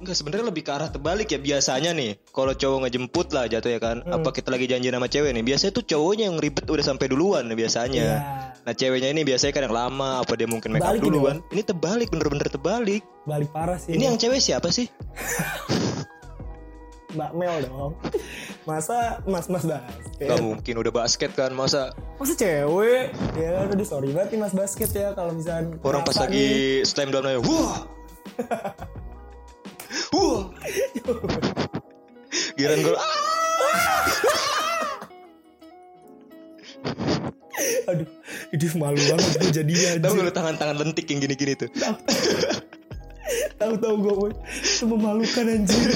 Speaker 1: Enggak sebenarnya lebih ke arah terbalik ya biasanya nih. Kalau cowok ngejemput lah jatuhnya kan.
Speaker 2: Hmm.
Speaker 1: Apa kita lagi janji sama cewek nih? Biasanya tuh cowoknya yang ribet udah sampai duluan nih biasanya.
Speaker 2: Iya.
Speaker 1: Nah ceweknya ini biasanya kan yang lama apa dia mungkin make up
Speaker 2: Balik ini,
Speaker 1: duluan. Ini terbalik bener-bener terbalik.
Speaker 2: balik parah sih
Speaker 1: Ini yang cewek siapa sih?
Speaker 2: mbak Mel dong masa mas mas basket
Speaker 1: Gak mungkin udah basket kan masa
Speaker 2: masa cewek ya udah sorry banget nih mas basket ya kalau misalnya
Speaker 1: orang pas lagi slam down aja, wah, wah, giran gol, ah,
Speaker 2: aduh dia malu banget gue jadi
Speaker 1: tahu nggak lu tangan-tangan lentik yang gini-gini tuh?
Speaker 2: tahu-tahu gue woy. itu memalukan anjir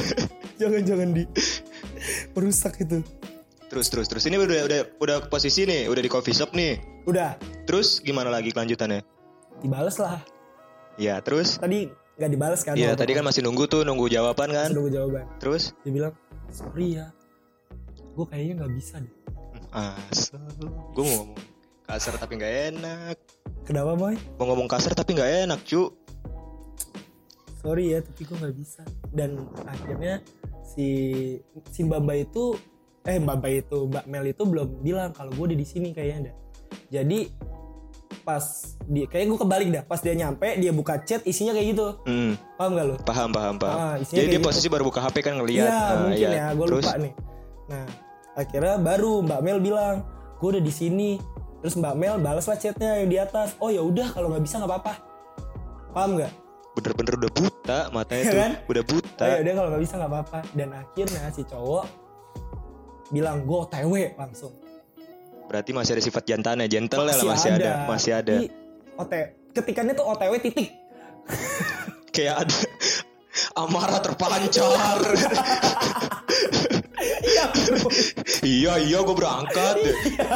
Speaker 2: jangan-jangan di merusak itu
Speaker 1: Terus terus terus ini udah udah udah posisi nih, udah di coffee shop nih.
Speaker 2: udah
Speaker 1: Terus gimana lagi kelanjutannya?
Speaker 2: dibales lah
Speaker 1: Ya terus,
Speaker 2: tadi nggak dibales kan
Speaker 1: ya tadi kan masih nunggu tuh, nunggu jawaban kan.
Speaker 2: sudah gue jawaban
Speaker 1: Terus,
Speaker 2: dia bilang sorry ya gue kayaknya nggak bisa deh
Speaker 1: asal, gue mau ngomong kasar tapi nggak enak,
Speaker 2: kenapa boy
Speaker 1: mau ngomong kasar tapi nggak enak cu.
Speaker 2: sorry ya tapi gue nggak bisa dan akhirnya si si Bamba itu eh Bamba itu Mbak Mel itu belum bilang kalau gue udah di sini kayaknya dah jadi pas dia kayaknya gue kebalik dah pas dia nyampe dia buka chat isinya kayak gitu
Speaker 1: Hmm,
Speaker 2: paham gak lo
Speaker 1: paham paham paham.
Speaker 2: Ah, isinya
Speaker 1: Jadi dia
Speaker 2: kayak gitu.
Speaker 1: posisi baru buka HP kan ngeliat.
Speaker 2: iya
Speaker 1: Nah,
Speaker 2: mungkin
Speaker 1: iya.
Speaker 2: ya gue
Speaker 1: Terus,
Speaker 2: lupa nih nah akhirnya baru Mbak Mel bilang gue udah di sini terus Mbak Mel balas lah chatnya yang di atas oh ya udah kalau nggak bisa nggak apa-apa paham nggak
Speaker 1: bener-bener udah buta matanya
Speaker 2: Iya
Speaker 1: tuh
Speaker 2: kan?
Speaker 1: udah buta
Speaker 2: Oh ya udah kalau nggak bisa nggak apa-apa. Dan akhirnya si cowok bilang gue OTW langsung.
Speaker 1: berarti masih ada sifat jantannya gentle lah Nah, masih ada. masih ada
Speaker 2: Tapi OTW ketikannya tuh OTW titik.
Speaker 1: kayak ada amarah terpancar
Speaker 2: Iya. bro.
Speaker 1: iya iya gue berangkat
Speaker 2: Iya.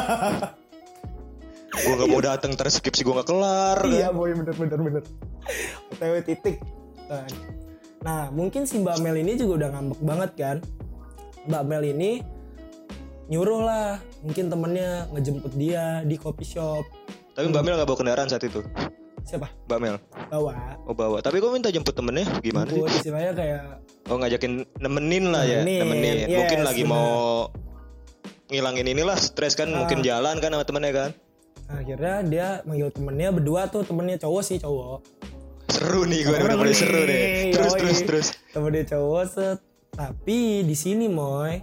Speaker 1: gue gak mau datang terus skip sih gue gak kelar
Speaker 2: iya boy bener bener bener. OTW titik. Kan. Nah mungkin si Mbak Mel ini juga udah ngambek banget kan. Mbak Mel ini nyuruh lah mungkin temennya ngejemput dia di coffee shop
Speaker 1: tapi mbak Mel gak bawa kendaraan saat itu
Speaker 2: siapa
Speaker 1: mbak Mel
Speaker 2: bawa
Speaker 1: oh bawa tapi gue minta jemput temennya gimana sih
Speaker 2: gue istilahnya kayak
Speaker 1: oh ngajakin nemenin lah ya
Speaker 2: Nemenin,
Speaker 1: nemenin mungkin
Speaker 2: yes,
Speaker 1: lagi
Speaker 2: bener.
Speaker 1: mau ngilangin inilah stres kan
Speaker 2: Ah.
Speaker 1: mungkin jalan kan sama temennya kan
Speaker 2: akhirnya dia manggil temennya berdua tuh temennya cowok sih cowok
Speaker 1: seru nih gue udah mulai seru deh terus
Speaker 2: Yoi.
Speaker 1: terus terus
Speaker 2: temennya cowok set tapi di sini moy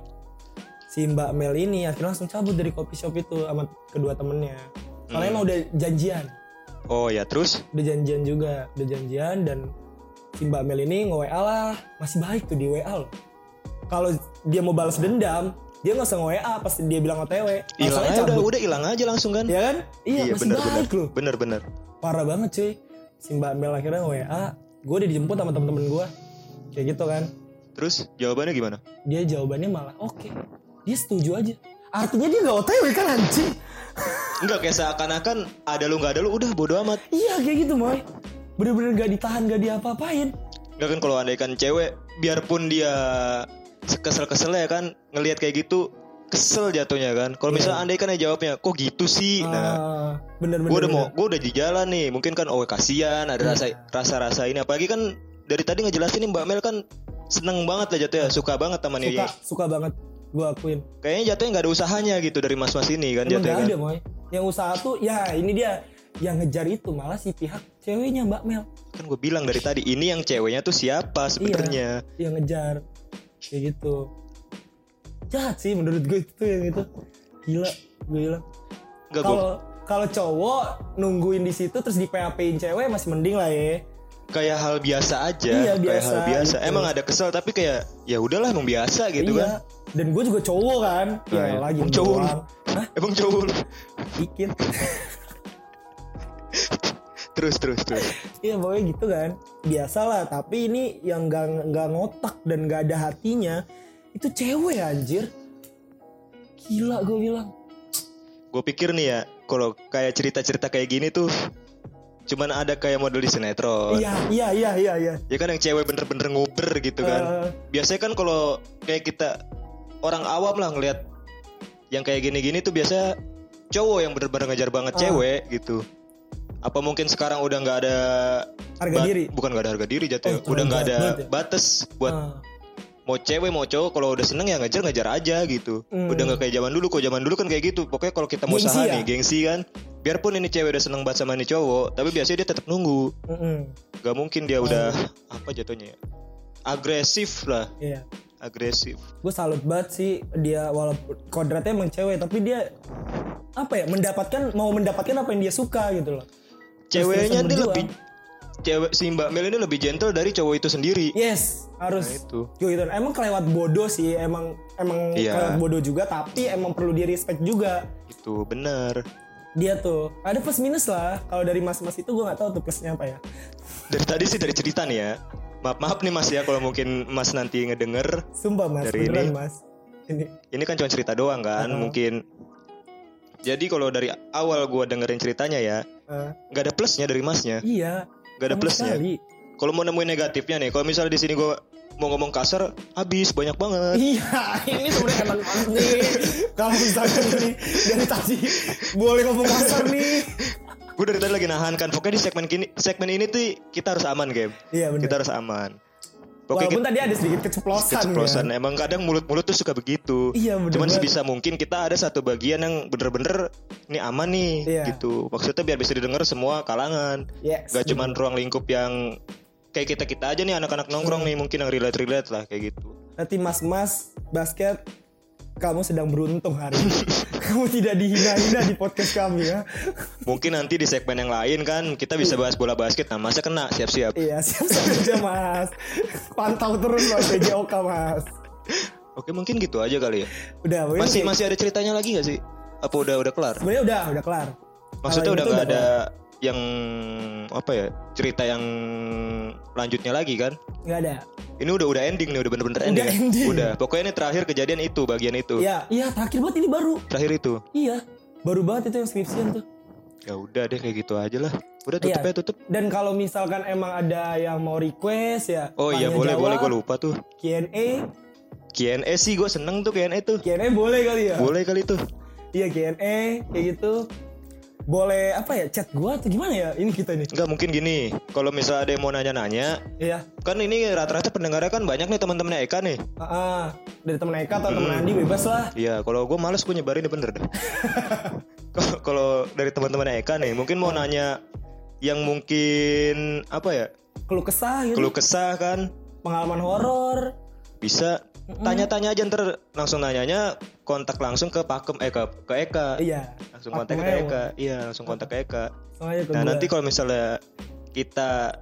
Speaker 2: si mbak Mel ini akhirnya langsung cabut dari kopi shop itu sama kedua temennya
Speaker 1: Hmm.
Speaker 2: soalnya emang udah janjian
Speaker 1: oh ya terus
Speaker 2: udah janjian juga udah janjian dan si mbak Mel ini nge WA lah masih baik tuh di WA loh kalau dia mau balas dendam dia nggak usah nge WA pas dia bilang OTW
Speaker 1: hilang
Speaker 2: langsungnya
Speaker 1: aja udah
Speaker 2: cabut
Speaker 1: udah hilang aja langsung kan
Speaker 2: ya kan iya, masih
Speaker 1: bener
Speaker 2: baik
Speaker 1: bener
Speaker 2: loh
Speaker 1: bener bener
Speaker 2: parah banget cuy si mbak Mel akhirnya WA gue udah dijemput sama temen-temen gue kayak gitu kan
Speaker 1: terus jawabannya gimana
Speaker 2: dia jawabannya malah oke dia setuju aja artinya dia nggak otw kan anjing
Speaker 1: enggak kayak seakan-akan ada lu nggak ada lu udah bodo amat
Speaker 2: iya kayak gitu moy bener-bener gak ditahan gak diapa-apain
Speaker 1: enggak kan kalau andaikan cewek biarpun dia kesel-kesel ya kan ngelihat kayak gitu kesel jatuhnya kan kalau misalnya andaikan ya jawabnya kok gitu sih nah
Speaker 2: Iya. Ah, bener-bener
Speaker 1: gue udah mau
Speaker 2: bener. Iya.
Speaker 1: gue udah di jalan nih mungkin kan oh kasihan ada rasa rasa rasa ini apalagi kan dari tadi ngejelasin nih mbak Mel kan seneng banget lah jatuhnya suka banget sama
Speaker 2: suka
Speaker 1: nih
Speaker 2: suka banget gue akuin
Speaker 1: kayaknya jatuhnya nggak ada usahanya gitu dari mas mas ini kan
Speaker 2: emang
Speaker 1: jatuhnya
Speaker 2: gak
Speaker 1: kan
Speaker 2: ada moy yang usaha tuh ya ini dia yang ngejar itu malah si pihak ceweknya mbak Mel
Speaker 1: kan gue bilang dari tadi ini yang ceweknya tuh siapa sebenarnya
Speaker 2: yang Iya, ngejar kayak gitu jahat sih menurut gue itu tuh yang itu gila gue bilang
Speaker 1: Enggak gue
Speaker 2: Iya. kalau kalau cowok nungguin di situ terus di PHP-in cewek masih mending lah ya.
Speaker 1: kayak hal biasa aja
Speaker 2: Iya,
Speaker 1: kayak
Speaker 2: biasa
Speaker 1: hal biasa
Speaker 2: gitu.
Speaker 1: emang ada kesel tapi kayak ya udahlah emang biasa gitu
Speaker 2: iya.
Speaker 1: kan
Speaker 2: Dan gue juga cowok kan. Ya
Speaker 1: Nah, iya.
Speaker 2: lagi
Speaker 1: Emang cowok lu.
Speaker 2: doang. Hah?
Speaker 1: emang cowok lu.
Speaker 2: Dikit.
Speaker 1: terus terus terus
Speaker 2: Iya pokoknya gitu kan. Biasalah, tapi ini yang gak, nggak ngotak dan gak ada hatinya itu cewek anjir. Gila gue bilang.
Speaker 1: gue pikir nih ya kalau kayak cerita cerita kayak gini tuh cuman ada kayak model di sinetron
Speaker 2: Iya, iya, iya, iya, iya.
Speaker 1: ya kan yang cewek bener-bener nguber gitu kan
Speaker 2: Eh.
Speaker 1: biasanya kan kalau kayak kita orang awam lah ngelihat yang kayak gini-gini tuh biasa cowok yang bener-bener ngejar banget
Speaker 2: Ah.
Speaker 1: cewek gitu. Apa mungkin sekarang udah nggak ada
Speaker 2: Harga
Speaker 1: bat-
Speaker 2: diri.
Speaker 1: Bukan nggak ada harga diri jatuh.
Speaker 2: Oh,
Speaker 1: udah nggak ada
Speaker 2: banget ya.
Speaker 1: batas buat
Speaker 2: Ah,
Speaker 1: mau cewek mau cowok kalau udah seneng ya ngejar ngejar aja gitu
Speaker 2: Hmm.
Speaker 1: udah nggak kayak zaman dulu kok zaman dulu kan kayak gitu pokoknya kalau kita mau
Speaker 2: Gengsi
Speaker 1: usaha
Speaker 2: ya?
Speaker 1: nih gengsi kan biarpun ini cewek udah seneng banget sama ini cowok tapi biasanya dia tetap nunggu
Speaker 2: mm-mm,
Speaker 1: gak mungkin dia udah
Speaker 2: Hmm.
Speaker 1: apa jatuhnya ya? agresif lah
Speaker 2: iya.
Speaker 1: agresif
Speaker 2: gue salut banget sih dia walaupun kodratnya emang cewek tapi dia apa ya mendapatkan mau mendapatkan apa yang dia suka gitu loh
Speaker 1: ceweknya
Speaker 2: terusan
Speaker 1: dia
Speaker 2: berjuang.
Speaker 1: lebih cewek si mbak Mel ini lebih gentle dari cowok itu sendiri
Speaker 2: yes harus
Speaker 1: Nah, itu.
Speaker 2: Yo, gitu emang kelewat bodoh sih emang emang
Speaker 1: Iya.
Speaker 2: kelewat bodoh juga tapi emang perlu di respect juga
Speaker 1: itu benar
Speaker 2: dia tuh ada plus minus lah kalau dari mas-mas itu gue nggak tahu tuh plusnya apa ya
Speaker 1: dari tadi sih dari cerita nih ya maaf maaf nih mas ya kalau mungkin mas nanti ngedenger
Speaker 2: sumpah mas
Speaker 1: Dari
Speaker 2: beneran
Speaker 1: ini.
Speaker 2: mas ini
Speaker 1: ini kan cuma cerita doang kan
Speaker 2: Heeh.
Speaker 1: mungkin jadi kalau dari awal gua dengerin ceritanya ya
Speaker 2: eh,
Speaker 1: nggak ada plusnya dari masnya
Speaker 2: iya
Speaker 1: nggak ada
Speaker 2: sama
Speaker 1: plusnya
Speaker 2: sekali.
Speaker 1: kalau mau nemuin negatifnya nih kalau misalnya di sini gua mau ngomong kasar habis banyak banget
Speaker 2: Iya, ini sebenarnya emang banget nih. Kalau misalkan nih dari tadi boleh ngomong kasar nih.
Speaker 1: gue dari tadi lagi nahan kan pokoknya di segmen kini segmen ini tuh kita harus aman game
Speaker 2: Iya benar.
Speaker 1: kita harus aman
Speaker 2: Walaupun
Speaker 1: pokoknya kita
Speaker 2: tadi ada sedikit keceplosan.
Speaker 1: keceplosan ya.
Speaker 2: kan.
Speaker 1: emang kadang mulut-mulut tuh suka begitu
Speaker 2: Iya benar.
Speaker 1: cuman
Speaker 2: banget.
Speaker 1: sebisa mungkin kita ada satu bagian yang bener-bener ini aman nih
Speaker 2: Iya.
Speaker 1: gitu maksudnya biar bisa didengar semua kalangan
Speaker 2: Yes.
Speaker 1: Gak cuman ruang lingkup yang kayak kita kita aja nih anak-anak nongkrong nih
Speaker 2: Iya.
Speaker 1: mungkin yang relate relate lah kayak gitu.
Speaker 2: Nanti mas-mas basket kamu sedang beruntung hari ini. kamu tidak dihina-hina di podcast kami ya.
Speaker 1: Mungkin nanti di segmen yang lain kan kita bisa bahas bola basket. Nah masa kena siap-siap.
Speaker 2: Iya, siap-siap aja mas. Pantau terus mas PJOK mas.
Speaker 1: Oke mungkin gitu aja kali ya.
Speaker 2: Udah, mungkin gitu.
Speaker 1: Masih
Speaker 2: kayak-
Speaker 1: masih ada ceritanya lagi gak sih? Apa udah udah kelar?
Speaker 2: Sebenarnya udah, udah kelar.
Speaker 1: Maksudnya
Speaker 2: Kalau
Speaker 1: udah
Speaker 2: itu
Speaker 1: gak ada
Speaker 2: udah
Speaker 1: yang apa ya cerita yang lanjutnya lagi kan?
Speaker 2: Gak ada.
Speaker 1: Ini udah udah ending nih udah bener-bener ending. kan?
Speaker 2: ending.
Speaker 1: Udah. Pokoknya ini terakhir kejadian itu bagian itu.
Speaker 2: Iya, iya terakhir banget ini baru.
Speaker 1: Terakhir itu.
Speaker 2: Iya, baru banget itu yang skripsian tuh.
Speaker 1: Ya udah deh kayak gitu aja lah. Udah tutup
Speaker 2: Iya.
Speaker 1: ya tutup.
Speaker 2: Dan kalau misalkan emang ada yang mau request ya.
Speaker 1: Oh iya
Speaker 2: tanya
Speaker 1: boleh
Speaker 2: jawab,
Speaker 1: boleh gue lupa tuh.
Speaker 2: Q&A,
Speaker 1: Q&A sih gue seneng tuh Q&A tuh
Speaker 2: Q&A boleh kali ya.
Speaker 1: Boleh kali tuh
Speaker 2: Iya Q&A kayak gitu. Boleh apa ya chat gua atau gimana ya ini kita nih.
Speaker 1: Enggak mungkin gini Kalau misalnya ada yang mau nanya-nanya
Speaker 2: Iya.
Speaker 1: Kan ini rata-rata pendengarnya kan banyak nih teman-temannya Eka nih
Speaker 2: Ah, ah. dari temen Eka atau
Speaker 1: Hmm.
Speaker 2: temen Andi bebas lah.
Speaker 1: Iya kalau gue males gue nyebarin deh bener deh Kalau- Kalau dari teman-temannya Eka nih Mungkin mau nanya Yang mungkin Apa ya
Speaker 2: Keluh kesah gitu.
Speaker 1: Keluh kesah kan
Speaker 2: Pengalaman horor.
Speaker 1: Bisa Tanya-tanya aja ntar Langsung nanyanya Kontak langsung ke Pakem Eh ke, ke Eka
Speaker 2: Iya.
Speaker 1: Langsung
Speaker 2: Aku
Speaker 1: kontak ke
Speaker 2: mau.
Speaker 1: Eka Iya langsung kontak ke Eka
Speaker 2: Langsung aja ke
Speaker 1: Nah
Speaker 2: gua.
Speaker 1: nanti kalau misalnya kita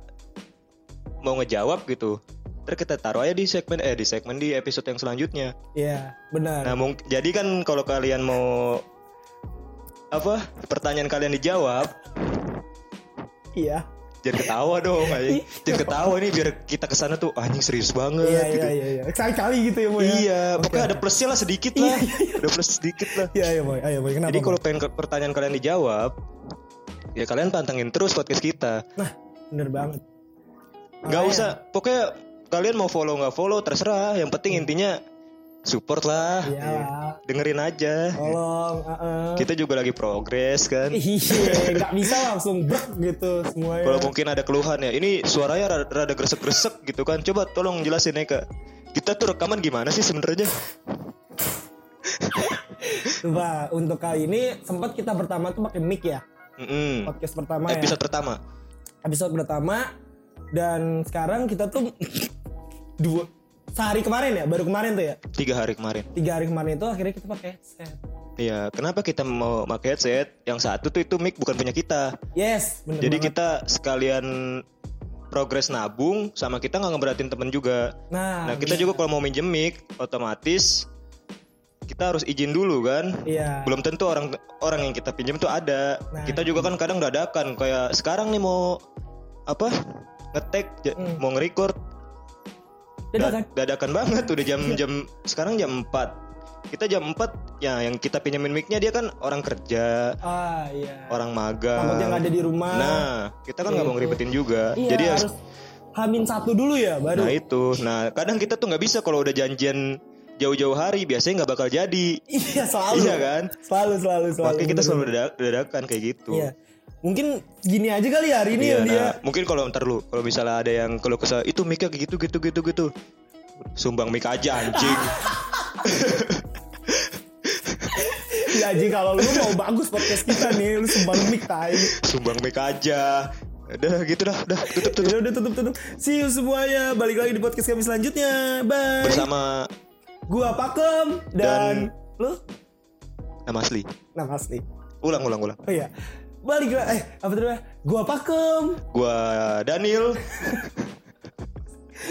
Speaker 1: mau ngejawab gitu, terus kita taruh aja di segmen eh di segmen di episode yang selanjutnya.
Speaker 2: Iya, benar.
Speaker 1: Nah mung- jadi kan kalau kalian mau apa pertanyaan kalian dijawab,
Speaker 2: Iya.
Speaker 1: jangan ketawa dong, aja. jangan ketawa nih biar kita kesana tuh anjing serius banget
Speaker 2: Iya,
Speaker 1: gitu.
Speaker 2: iya, iya, iya. Sekali-kali gitu ya, Boy. ya?
Speaker 1: Iya,
Speaker 2: Oke.
Speaker 1: pokoknya ada plusnya lah sedikit lah, ada plus sedikit lah.
Speaker 2: Iya, iya, Boy. Ayo, Boy. Kenapa?
Speaker 1: Jadi
Speaker 2: Boy?
Speaker 1: kalau pengen ke- pertanyaan kalian dijawab, ya kalian pantengin terus podcast kita.
Speaker 2: Nah, bener banget.
Speaker 1: Gak
Speaker 2: Makanya.
Speaker 1: usah, pokoknya kalian mau follow nggak follow terserah. Yang
Speaker 2: Hmm.
Speaker 1: penting intinya support lah,
Speaker 2: Iya.
Speaker 1: dengerin aja.
Speaker 2: Tolong, heeh.
Speaker 1: Kita juga lagi progres kan.
Speaker 2: Oh. Iya, nggak bisa langsung brek gitu semuanya.
Speaker 1: Kalau mungkin ada keluhan ya, ini suaranya rada, rada gresek-gresek gitu kan. Coba tolong jelasin Eka. Kita tuh rekaman gimana sih sebenarnya?
Speaker 2: Coba untuk kali ini sempat kita pertama tuh pakai mic ya,
Speaker 1: Mm-mm.
Speaker 2: podcast pertama ya.
Speaker 1: Episode pertama.
Speaker 2: Episode pertama dan sekarang kita tuh dua sehari kemarin ya, baru kemarin tuh ya.
Speaker 1: Tiga hari kemarin.
Speaker 2: Tiga hari kemarin itu akhirnya kita pakai headset.
Speaker 1: Iya, kenapa kita mau pakai headset? Yang satu tuh itu mic bukan punya kita.
Speaker 2: Yes, bener
Speaker 1: Jadi
Speaker 2: banget.
Speaker 1: kita sekalian progres nabung sama kita nggak ngeberatin temen juga.
Speaker 2: nah,
Speaker 1: Nah kita
Speaker 2: bener.
Speaker 1: juga kalau mau minjem mic otomatis kita harus izin dulu kan.
Speaker 2: Iya.
Speaker 1: Belum tentu orang orang yang kita pinjem tuh ada.
Speaker 2: Nah.
Speaker 1: Kita juga kan kadang dadakan kayak sekarang nih mau apa ngetek ja-
Speaker 2: Hmm. kan?
Speaker 1: mau nge-record
Speaker 2: Dadakan.
Speaker 1: Da- dadakan banget udah jam
Speaker 2: Iya.
Speaker 1: jam sekarang jam 4 kita jam 4 ya yang kita pinjemin micnya dia kan orang kerja
Speaker 2: Ah, iya.
Speaker 1: orang magang
Speaker 2: Takutnya nggak ada di rumah.
Speaker 1: nah kita kan nggak mau
Speaker 2: Gitu.
Speaker 1: ngeribetin juga
Speaker 2: Iya,
Speaker 1: jadi ya
Speaker 2: harus hamin satu dulu ya baru.
Speaker 1: Nah itu, nah kadang kita tuh nggak bisa kalau udah janjian jauh-jauh hari biasanya nggak bakal jadi
Speaker 2: Iya selalu.
Speaker 1: Iya kan?
Speaker 2: Selalu selalu selalu.
Speaker 1: makanya kita
Speaker 2: Bener,
Speaker 1: selalu
Speaker 2: bener.
Speaker 1: dadak- dadakan kayak gitu
Speaker 2: Iya. Mungkin gini aja kali ya hari ini
Speaker 1: Iya,
Speaker 2: yang dia.
Speaker 1: nah, mungkin kalau ntar lu kalau misalnya ada yang kalau kesal itu mic kayak gitu gitu gitu gitu sumbang mic aja anjing
Speaker 2: Iya Ji, kalau lu mau bagus podcast kita nih, lu sumbang mic tai.
Speaker 1: sumbang mic aja udah gitu dah udah tutup tutup
Speaker 2: Ya udah tutup tutup. See you semuanya. Balik lagi di podcast kami selanjutnya. Bye.
Speaker 1: bersama
Speaker 2: Gua Pakem dan, lu
Speaker 1: nama asli
Speaker 2: nama asli.
Speaker 1: ulang ulang ulang
Speaker 2: Oh iya. Balik lagi eh apa tuh namanya? Gua Pakem.
Speaker 1: gua Daniel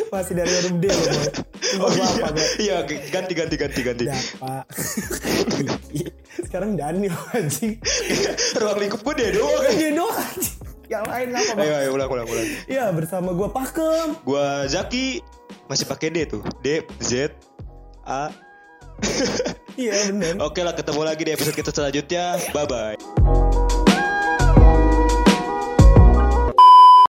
Speaker 2: Masih dari Warung D ya, loh, Boy. Gak apa-apa, Boy.
Speaker 1: iya iya ganti ganti ganti ganti
Speaker 2: Dapa. Iya. Sekarang Daniel anjing. Oh, kan
Speaker 1: ruang lingkup gua dia doang
Speaker 2: Dia doang anjing. Yang lain apa, Bang?
Speaker 1: ayo ayo ulang ulang ulang
Speaker 2: Ya bersama gua Pakem.
Speaker 1: gua Zaki masih pakai D tuh D Z A
Speaker 2: Iya benar.
Speaker 1: oke lah ketemu lagi di episode kita selanjutnya bye bye